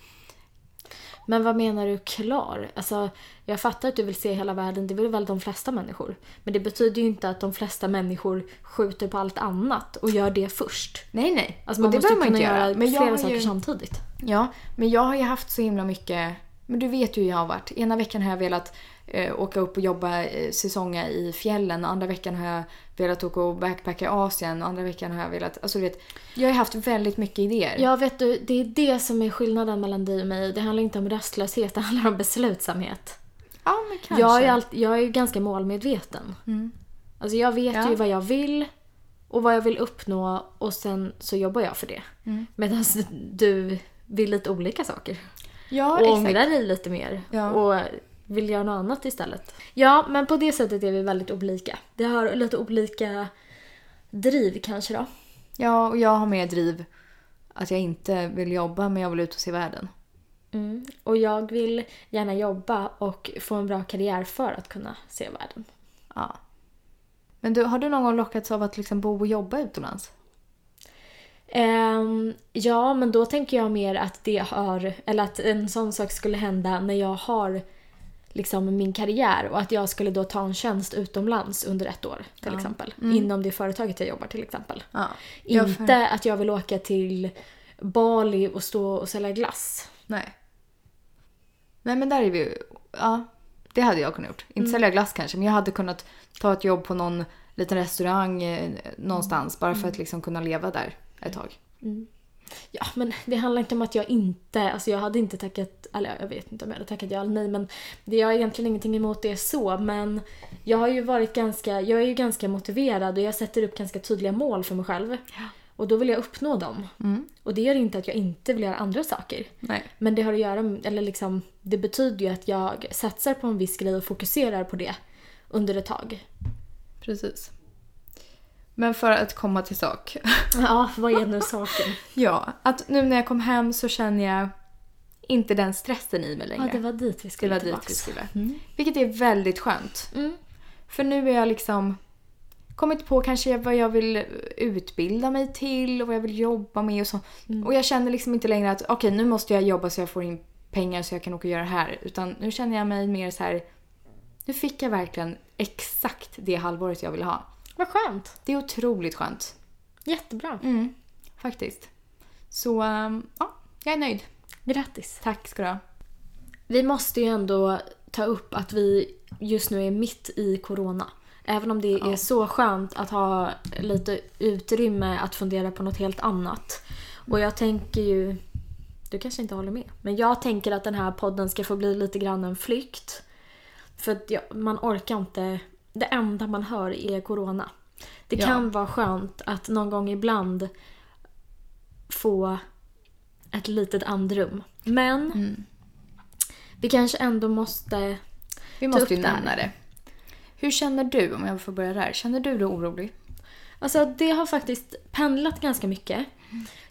Speaker 2: Men vad menar du klar? Alltså, jag fattar att du vill se hela världen, det vill väl de flesta människor. Men det betyder ju inte att de flesta människor skjuter på allt annat och gör det först.
Speaker 1: Nej, nej.
Speaker 2: Alltså man
Speaker 1: Och det
Speaker 2: måste
Speaker 1: behöver
Speaker 2: ju
Speaker 1: man
Speaker 2: kunna
Speaker 1: inte
Speaker 2: göra,
Speaker 1: göra. Men jag
Speaker 2: flera
Speaker 1: har
Speaker 2: saker
Speaker 1: ju,
Speaker 2: samtidigt.
Speaker 1: Ja, men jag har ju haft så himla mycket... Men du vet ju hur jag har varit. Ena veckan har jag velat eh, åka upp och jobba eh, säsonga i fjällen. Andra veckan har jag velat åka och backpacka i Asien. Och andra veckan har jag velat... Alltså du vet, jag har ju haft väldigt mycket idéer.
Speaker 2: Ja, vet du, det är det som är skillnaden mellan dig och mig. Det handlar inte om rastlöshet, det handlar om beslutsamhet.
Speaker 1: ja men kanske.
Speaker 2: Jag är, ju allt, jag är ju ganska målmedveten. Alltså jag vet
Speaker 1: Ja.
Speaker 2: ju vad jag vill och vad jag vill uppnå och sen så jobbar jag för det. Medan du vill lite olika saker.
Speaker 1: ja,
Speaker 2: och
Speaker 1: exakt.
Speaker 2: ångrar dig lite mer
Speaker 1: Ja.
Speaker 2: och vill göra något annat istället. Ja, men på det sättet är vi väldigt olika. Vi har lite olika driv kanske då.
Speaker 1: Ja, och jag har mer driv att jag inte vill jobba men jag vill ut och se världen.
Speaker 2: Mm. Och jag vill gärna jobba och få en bra karriär för att kunna se världen.
Speaker 1: Ja. Men du, har du någon gång lockats av att liksom bo och jobba utomlands?
Speaker 2: Ehm, ja, men då tänker jag mer att det har, eller att en sån sak skulle hända när jag har liksom min karriär och att jag skulle då ta en tjänst utomlands under ett år till exempel. Inom det företaget jag jobbar till exempel.
Speaker 1: Mm. Ja. Jag för-
Speaker 2: Inte att jag vill åka till Bali och stå och sälja glass.
Speaker 1: Nej. Nej men där är vi ju... Ja, det hade jag kunnat gjort. Inte sälja glass kanske, men jag hade kunnat ta ett jobb på någon liten restaurang eh, någonstans bara för att liksom kunna leva där ett tag.
Speaker 2: Ja, men det handlar inte om att jag inte, alltså jag hade inte tackat, eller jag vet inte om jag hade tackat ja eller nej, men det jag har egentligen ingenting emot det så, men jag har ju varit ganska, jag är ju ganska motiverad och jag sätter upp ganska tydliga mål för mig själv. Och då vill jag uppnå dem. Och det gör inte att jag inte vill göra andra saker.
Speaker 1: Nej.
Speaker 2: Men det har att göra med- eller liksom, det betyder ju att jag satsar på en viss grej och fokuserar på det under ett tag.
Speaker 1: Precis. Men för att komma till sak.
Speaker 2: Ja, vad är nu saken?
Speaker 1: ja, <laughs> att nu när jag kom hem så känner jag inte den stressen i mig längre.
Speaker 2: <laughs> Ja, det var dit vi
Speaker 1: Det
Speaker 2: skulle
Speaker 1: var dit vi
Speaker 2: tillbaks.
Speaker 1: skulle. Vilket är väldigt skönt. För nu är jag liksom kommit på kanske vad jag vill utbilda mig till och vad jag vill jobba med och så. Och jag känner liksom inte längre att okej nu måste jag jobba så jag får in pengar så jag kan åka och göra det här. Utan nu känner jag mig mer så här. nu fick jag verkligen exakt det halvåret jag ville ha.
Speaker 2: Vad skönt.
Speaker 1: Det är otroligt skönt.
Speaker 2: Jättebra.
Speaker 1: Mm, faktiskt. Så ehm, ja, jag är nöjd.
Speaker 2: Grattis.
Speaker 1: Tack ska du ha.
Speaker 2: Vi måste ju ändå ta upp att vi just nu är mitt i corona. Även om det är så skönt att ha lite utrymme att fundera på något helt annat. Och jag tänker ju... Du kanske inte håller med. Men jag tänker att den här podden ska få bli lite grann en flykt. För att jag, man orkar inte... Det enda man hör är corona. Det
Speaker 1: Ja.
Speaker 2: kan vara skönt att någon gång ibland få ett litet andrum. Men vi kanske ändå måste
Speaker 1: Vi
Speaker 2: upp
Speaker 1: måste ju
Speaker 3: Typ
Speaker 2: det här.
Speaker 1: nämna det. Hur känner du, om jag får börja där, känner du dig orolig?
Speaker 2: Alltså det har faktiskt pendlat ganska mycket.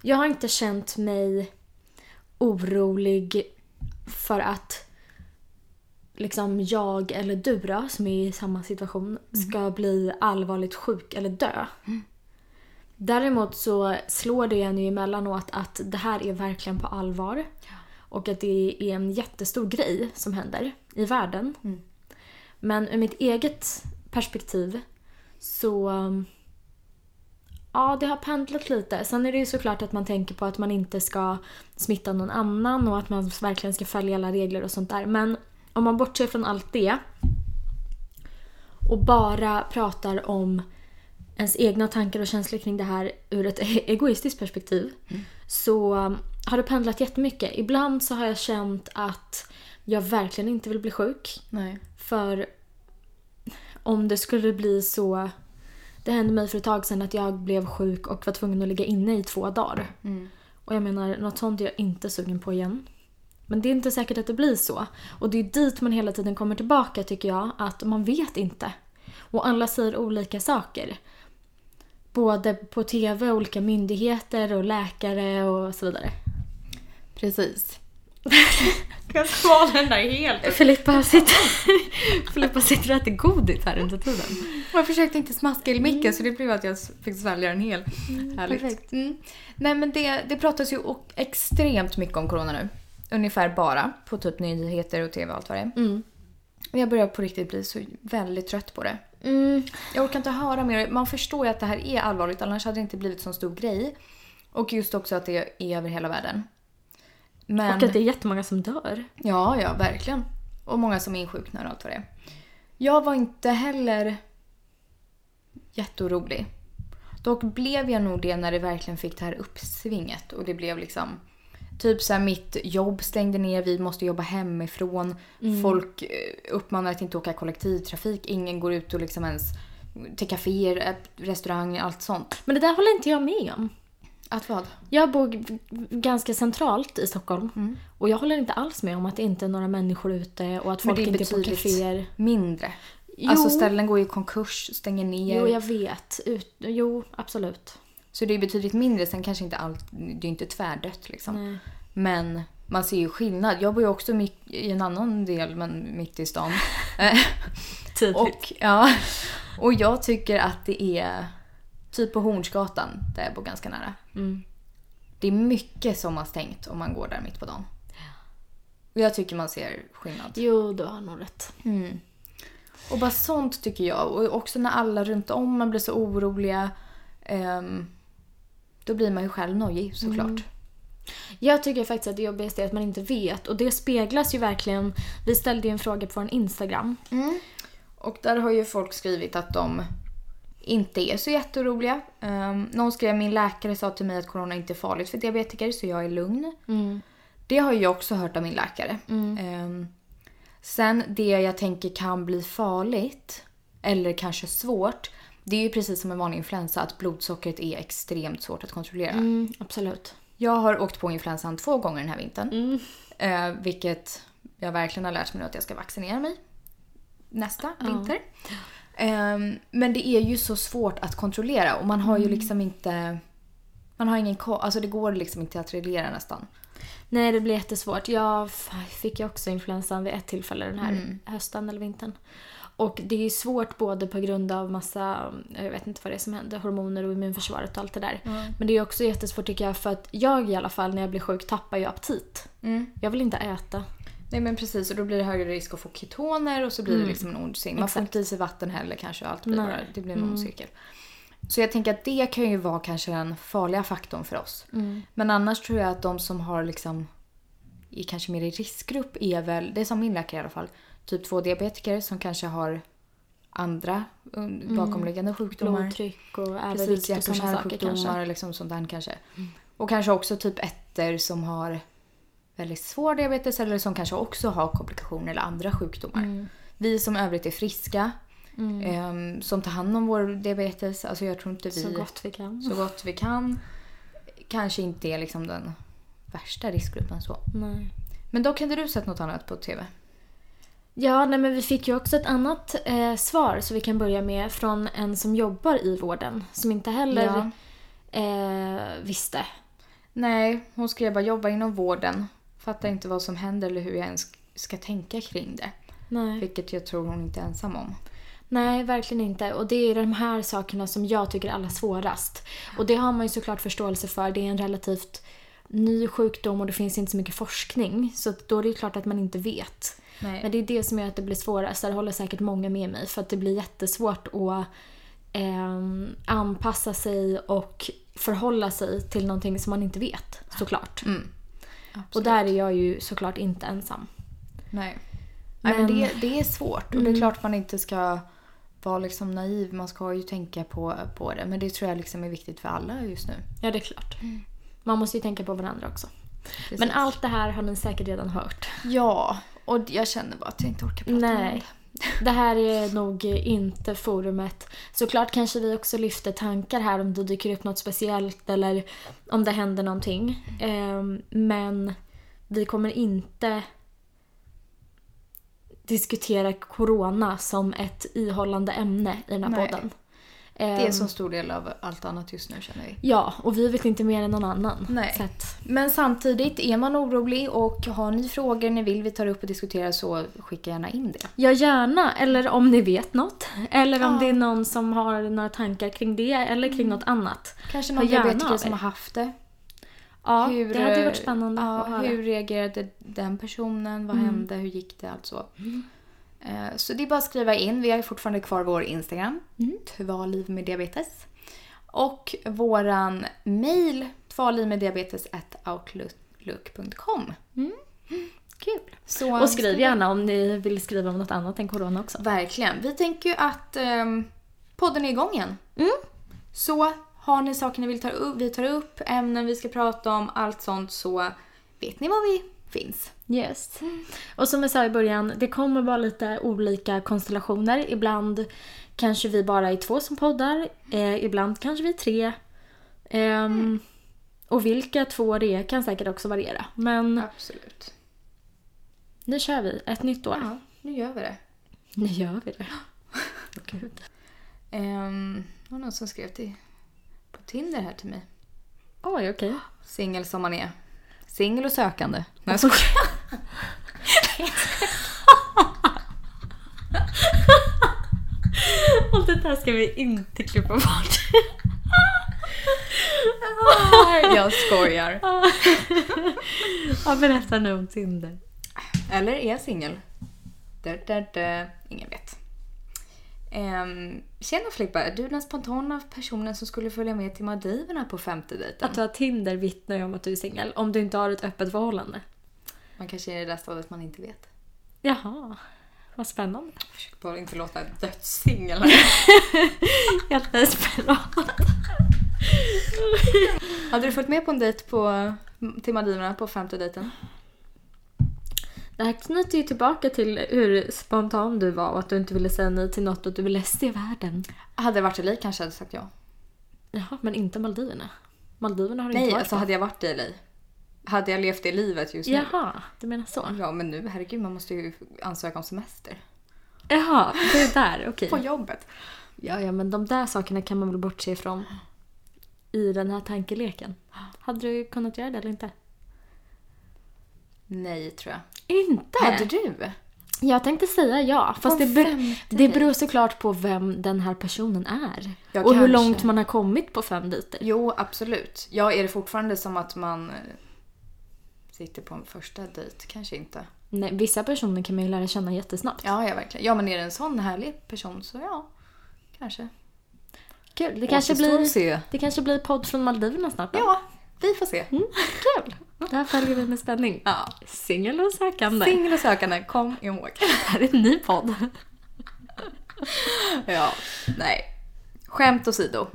Speaker 2: Jag har inte känt mig orolig för att liksom jag eller du då, som är i samma situation, ska bli allvarligt sjuk eller dö. Däremot så slår det en ju emellanåt att det här är verkligen på allvar. Och att det är en jättestor grej som händer i världen. Men ur mitt eget perspektiv så... um, Ja, det har pendlat lite. Sen är det ju såklart att man tänker på att man inte ska smitta någon annan och att man verkligen ska följa alla regler och sånt där. Men om man bortser från allt det och bara pratar om ens egna tankar och känslor kring det här ur ett <laughs> egoistiskt perspektiv så um, har det pendlat jättemycket. Ibland så har jag känt att jag verkligen inte vill bli sjuk.
Speaker 1: Nej.
Speaker 2: För om det skulle bli så... Det hände mig för ett tag sedan att jag blev sjuk och var tvungen att ligga inne i två dagar. Och jag menar, något sånt är jag inte sugen på igen. Men det är inte säkert att det blir så. Och det är dit man hela tiden kommer tillbaka tycker jag, att man vet inte. Och alla säger olika saker. Både på TV, olika myndigheter och läkare och så vidare.
Speaker 1: Precis.
Speaker 3: <laughs> Jag svalde den där helt.
Speaker 2: Filippa sitter, <laughs> Filippa sitter och äter godis här under tiden.
Speaker 1: Jag försökte inte smaska i micken
Speaker 3: Mm.
Speaker 1: så det blev att jag fick svälja den hel. Härligt.
Speaker 2: perfekt.
Speaker 1: Mm. Nej men det, det pratas ju o- extremt mycket om corona nu. Ungefär bara på typ nyheter och tv och allt vad det är.
Speaker 2: Mm.
Speaker 1: Och Jag börjar på riktigt bli så väldigt trött på det.
Speaker 2: Mm.
Speaker 1: Jag orkar inte höra mer. Man förstår ju att det här är allvarligt annars hade det inte blivit sån stor grej. Och just också att det är över hela världen. Men...
Speaker 2: Och att det är jättemånga som dör.
Speaker 1: Ja, ja, verkligen. Och många som är insjuknar och allt vad det är. Jag var inte heller jätteorolig. Dock blev jag nog det när det verkligen fick det här uppsvinget och det blev liksom Typ såhär mitt jobb stängde ner, vi måste jobba hemifrån. Folk eh, uppmanar att inte åka kollektivtrafik. Ingen går ut och liksom ens till kaféer, eh, restauranger, allt sånt.
Speaker 2: Men det där håller inte jag med om.
Speaker 1: Att vad?
Speaker 2: Jag bor g- ganska centralt i Stockholm och jag håller inte alls med om att det inte är några människor ute och att
Speaker 1: Men
Speaker 2: folk
Speaker 1: det är
Speaker 2: inte är på
Speaker 1: betydligt
Speaker 2: kaféer.
Speaker 1: mindre.
Speaker 2: Jo.
Speaker 1: Alltså ställen går i konkurs, stänger ner.
Speaker 2: Jo, jag vet. Ut, jo, absolut.
Speaker 1: Så det är betydligt mindre. Sen kanske inte allt, det är inte tvärdött liksom.
Speaker 2: Nej.
Speaker 1: Men man ser ju skillnad. Jag bor ju också mitt, i en annan del, men mitt i
Speaker 2: <laughs>
Speaker 1: stan. Eh,
Speaker 2: Typ.
Speaker 1: och, ja, och jag tycker att det är typ på Hornsgatan, där jag bor ganska nära.
Speaker 2: Mm.
Speaker 1: Det är mycket som har stängt om man går där mitt på dagen. Och jag tycker man ser skillnad.
Speaker 2: Jo, du har nog rätt.
Speaker 1: Mm. Och bara sånt tycker jag. Och också när alla runt om man blir så oroliga. ehm, då blir man ju själv nojig såklart.
Speaker 2: Mm. Jag tycker faktiskt att det jobbigaste är att man inte vet och det speglas ju verkligen. Vi ställde ju en fråga på vår Instagram.
Speaker 1: Och där har ju folk skrivit att de inte är så jätteoroliga. Um, någon skrev min läkare sa till mig att corona inte är farligt för diabetiker så jag är lugn. Det har jag också hört av min läkare. Ehm, sen det jag tänker kan bli farligt eller kanske svårt. Det är ju precis som en vanlig influensa att blodsockret är extremt svårt att kontrollera.
Speaker 2: Mm, absolut.
Speaker 1: Jag har åkt på influensan två gånger den här vintern. Eh, vilket jag verkligen har lärt mig nu att jag ska vaccinera mig nästa vinter. Ehm, men det är ju så svårt att kontrollera och man har ju liksom inte... Man har ingen ko- Alltså det går liksom inte att reglera nästan.
Speaker 2: Nej, det blir jättesvårt. Jag f- fick ju också influensan vid ett tillfälle den här
Speaker 1: Mm.
Speaker 2: hösten eller vintern. Och det är ju svårt både på grund av massa, jag vet inte vad det är som händer, hormoner och immunförsvaret och allt det där. Men det är också jättesvårt tycker jag för att jag i alla fall när jag blir sjuk tappar ju aptit. Jag vill inte äta.
Speaker 1: Nej men precis och då blir det högre risk att få ketoner och så blir det liksom en ond cirkel. Man får inte i sig vatten heller kanske och allt blir
Speaker 2: Nej.
Speaker 1: bara, det blir en ond cirkel. Så jag tänker att det kan ju vara kanske den farliga faktorn för oss. Men annars tror jag att de som har liksom är kanske mer i riskgrupp är väl, det är som min läkare i alla fall, typ två diabetiker som kanske har andra um, bakomliggande sjukdomar.
Speaker 2: Blodtryck och
Speaker 1: Precis,
Speaker 2: övervikt och
Speaker 1: hjärt och
Speaker 2: sådana saker kanske. Mm.
Speaker 1: kärlsjukdomar liksom sånt där kanske. Och kanske också typ ettor som har väldigt svår diabetes eller som kanske också har komplikationer eller andra sjukdomar.
Speaker 2: Mm.
Speaker 1: Vi som övrigt är friska, ehm, som tar hand om vår diabetes, alltså jag tror inte vi
Speaker 2: Så gott vi kan.
Speaker 1: så gott vi kan, kanske inte är liksom den värsta riskgruppen så.
Speaker 2: Nej.
Speaker 1: Men då hade du sett något annat på TV?
Speaker 2: Ja, nej, men vi fick ju också ett annat eh, svar som vi kan börja med från en som jobbar i vården som inte heller eh, visste.
Speaker 1: Nej, hon skrev bara jobba inom vården. Fattar inte vad som händer eller hur jag ens ska tänka kring det.
Speaker 2: Nej.
Speaker 1: Vilket jag tror hon inte är ensam om.
Speaker 2: nej, verkligen inte. Och det är de här sakerna som jag tycker är allra svårast. Och det har man ju såklart förståelse för. Det är en relativt ny sjukdom och det finns inte så mycket forskning. Så att då är det ju klart att man inte vet.
Speaker 1: Nej.
Speaker 2: Men det är det som gör att det blir svårast. Där håller säkert många med mig. För att det blir jättesvårt att ehm, anpassa sig och förhålla sig till någonting som man inte vet. Såklart.
Speaker 1: Mm.
Speaker 2: och där är jag ju såklart inte ensam.
Speaker 1: Nej. Nej, men Mm. det, det är svårt och det är klart man inte ska vara liksom naiv. Man ska ju tänka på, på det. Men det tror jag liksom är viktigt för alla just nu.
Speaker 2: Ja, det är klart. Man måste ju tänka på varandra också.
Speaker 1: Precis.
Speaker 2: Men allt det här har ni säkert redan hört.
Speaker 1: Ja, och jag känner bara att jag inte orkar prata om
Speaker 2: Nej.
Speaker 1: det.
Speaker 2: Det här är nog inte forumet. Såklart kanske vi också lyfter tankar här om det dyker upp något speciellt eller om det händer någonting. Ehm, Men vi kommer inte diskutera corona som ett ihållande ämne i den här
Speaker 1: Nej.
Speaker 2: podden.
Speaker 1: Det är
Speaker 2: Ehm,
Speaker 1: en så stor del av allt annat just nu känner vi.
Speaker 2: Ja, och vi vet inte mer än någon annan.
Speaker 1: Nej.
Speaker 2: Så att,
Speaker 1: Men samtidigt, är man orolig och har ni frågor ni vill vi tar upp och diskuterar så skicka gärna in det.
Speaker 2: Ja, gärna. Eller om ni vet något. Eller om
Speaker 1: Ja. Mm.
Speaker 2: det är någon som har några tankar kring det eller kring något annat.
Speaker 1: Kanske någon
Speaker 2: Hör gärna av
Speaker 1: diabetiker
Speaker 2: er.
Speaker 1: som har haft det.
Speaker 2: Ja,
Speaker 1: Hur,
Speaker 2: det hade ju
Speaker 1: eh,
Speaker 2: varit spännande
Speaker 1: ja,
Speaker 2: att höra. Mm.
Speaker 1: Hur reagerade den personen? Vad hände? Hur gick det? Allt så. Eh, Så det är bara att skriva in. Vi har ju fortfarande kvar vår Instagram. Mm. Tvaliv med diabetes. Och våran mail tvalivmeddiabetes.outlook.com
Speaker 2: Kul.
Speaker 1: Så
Speaker 2: Och skriv gärna om ni vill skriva om något annat än corona också.
Speaker 1: Verkligen. Vi tänker ju att ehm, podden är igång igen.
Speaker 2: Mm.
Speaker 1: Så har ni saker ni vill ta upp, vi tar upp, ämnen vi ska prata om, allt sånt så vet ni var vi finns.
Speaker 2: Yes. Och som jag sa i början, det kommer vara lite olika konstellationer. Ibland kanske vi bara är två som poddar. Eh, ibland kanske vi är tre. Ehm,
Speaker 1: Mm.
Speaker 2: Och vilka två det är kan säkert också variera. Men
Speaker 1: Absolut.
Speaker 2: nu kör vi ett nytt år.
Speaker 1: Ja, nu gör vi det.
Speaker 2: Nu gör
Speaker 1: <laughs>
Speaker 2: vi det. Gud.
Speaker 1: Ehm, det var någon som skrev till på Tinder här till mig.
Speaker 2: Oj, okej.
Speaker 1: Singel som man är. Singel och sökande. Nej, så...
Speaker 2: <laughs> Och det där ska vi inte klippa bort.
Speaker 1: <laughs> Jag skojar.
Speaker 2: <laughs> ja, berätta nu om Tinder.
Speaker 1: Eller är jag singel? Där, där, där. Ingen vet. Um, tjena Flippa, du är den spontana personen som skulle följa med till Maldiverna på femte dejten.
Speaker 2: Att du har Tinder vittnar ju om att du är singel. Om du inte har ett öppet förhållande.
Speaker 1: Man kanske är i det där stadiet man inte vet.
Speaker 2: Jaha. Vad spännande.
Speaker 1: Jag försöker bara inte låta dödssingel.
Speaker 2: Helt desperat.
Speaker 1: Hade du följt med på en dejt på, till Maldiverna på femte dejten?
Speaker 2: <laughs> Det här knyter ju tillbaka till hur spontan du var och att du inte ville säga nej till något och att du ville se världen.
Speaker 1: Hade det varit i LA kanske jag hade sagt ja.
Speaker 2: Jaha, men inte Maldiverna. Maldiverna har du
Speaker 1: Nej,
Speaker 2: inte varit
Speaker 1: alltså
Speaker 2: på.
Speaker 1: hade jag varit i LA. Hade jag levt det livet just nu.
Speaker 2: Jaha, du menar så.
Speaker 1: Ja, men nu herregud, man måste ju ansöka om semester.
Speaker 2: Jaha, det är där. Okej.
Speaker 1: På jobbet.
Speaker 2: Ja, ja, men de där sakerna kan man väl bortse ifrån i den här tankeleken. Hade du kunnat göra det eller inte?
Speaker 1: Nej, tror jag.
Speaker 2: Inte?
Speaker 1: Hade du?
Speaker 2: Jag tänkte säga ja, fast
Speaker 1: På
Speaker 2: det, ber-
Speaker 1: femte
Speaker 2: det beror såklart på vem den här personen är.
Speaker 1: Ja,
Speaker 2: och hur
Speaker 1: kanske.
Speaker 2: långt man har kommit på fem dejter.
Speaker 1: Jo, absolut. Ja, är det fortfarande som att man eh, sitter på en första dejt? Kanske inte.
Speaker 2: Nej, vissa personer kan man ju lära känna jättesnabbt.
Speaker 1: Ja, ja, verkligen. Ja, men är det en sån härlig person så ja, kanske.
Speaker 2: Kul, det kanske,
Speaker 1: Återstår att
Speaker 2: blir,
Speaker 1: se.
Speaker 2: det kanske blir podd från Maldiverna snart då. Mm,
Speaker 1: Ja, vi får se.
Speaker 2: Kul! Det här följer vi med spänning.
Speaker 1: Ja.
Speaker 2: Singel och sökande.
Speaker 1: Singel och sökande, kom ihåg.
Speaker 2: det här är en ny podd.
Speaker 1: Ja, nej. Skämt åsido.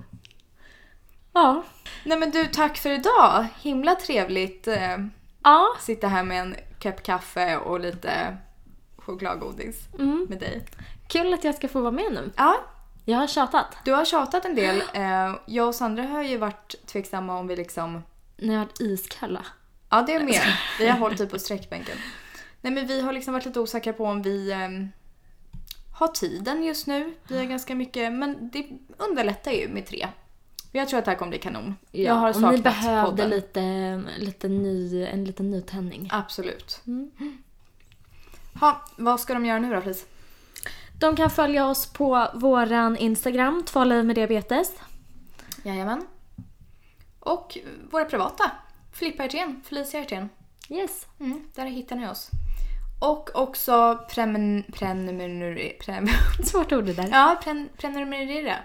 Speaker 2: ja.
Speaker 1: Nej men du, tack för idag. Himla trevligt eh,
Speaker 2: Ja,
Speaker 1: sitta här med en kopp kaffe och lite chokladgodis med dig.
Speaker 2: mm. kul att jag ska få vara med nu.
Speaker 1: Ja,
Speaker 2: Jag har tjatat.
Speaker 1: Du har tjatat en del. Eh, jag och Sandra har ju varit tveksamma om vi liksom...
Speaker 2: När jag har varit iskalla.
Speaker 1: Ja, det är med. Vi har hållit typ på sträckbänken. Nej men vi har liksom varit lite osäkra på om vi ehm, har tiden just nu. Vi har ganska mycket, men det underlättar ju med tre. Jag tror att det här kommer bli kanon. jag har
Speaker 2: om ni
Speaker 1: saknat
Speaker 2: behövde
Speaker 1: podden.
Speaker 2: lite, lite ny, en liten nytändning.
Speaker 1: Absolut. Ha, vad ska de göra nu då Flis?
Speaker 2: De kan följa oss på våran Instagram, Två liv med diabetes.
Speaker 1: Jajamän. Och våra privata. Filippa Hjertén, Felicia Hjertén.
Speaker 2: Yes.
Speaker 1: Mm, där hittar ni oss. Och också premen... Prenumerera... Prem, <laughs>
Speaker 2: Svårt ord det där.
Speaker 1: ja, pren, prenumerera.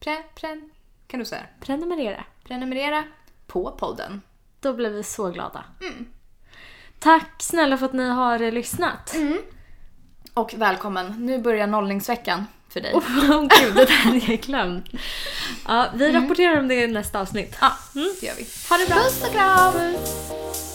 Speaker 1: Pre, pren, kan du säga?
Speaker 2: Prenumerera.
Speaker 1: Prenumerera på podden.
Speaker 2: Då blir vi så glada.
Speaker 1: Mm.
Speaker 2: Tack snälla för att ni har eh, lyssnat.
Speaker 1: Mm. Och välkommen, nu börjar nollningsveckan för dig.
Speaker 2: <laughs> Åh, gud, det där hade jag glömt.
Speaker 1: Mm.
Speaker 2: Ja, Mm. vi rapporterar om det i nästa avsnitt.
Speaker 1: Ja, det gör vi. Ha det bra! Puss och kram!
Speaker 2: Puss.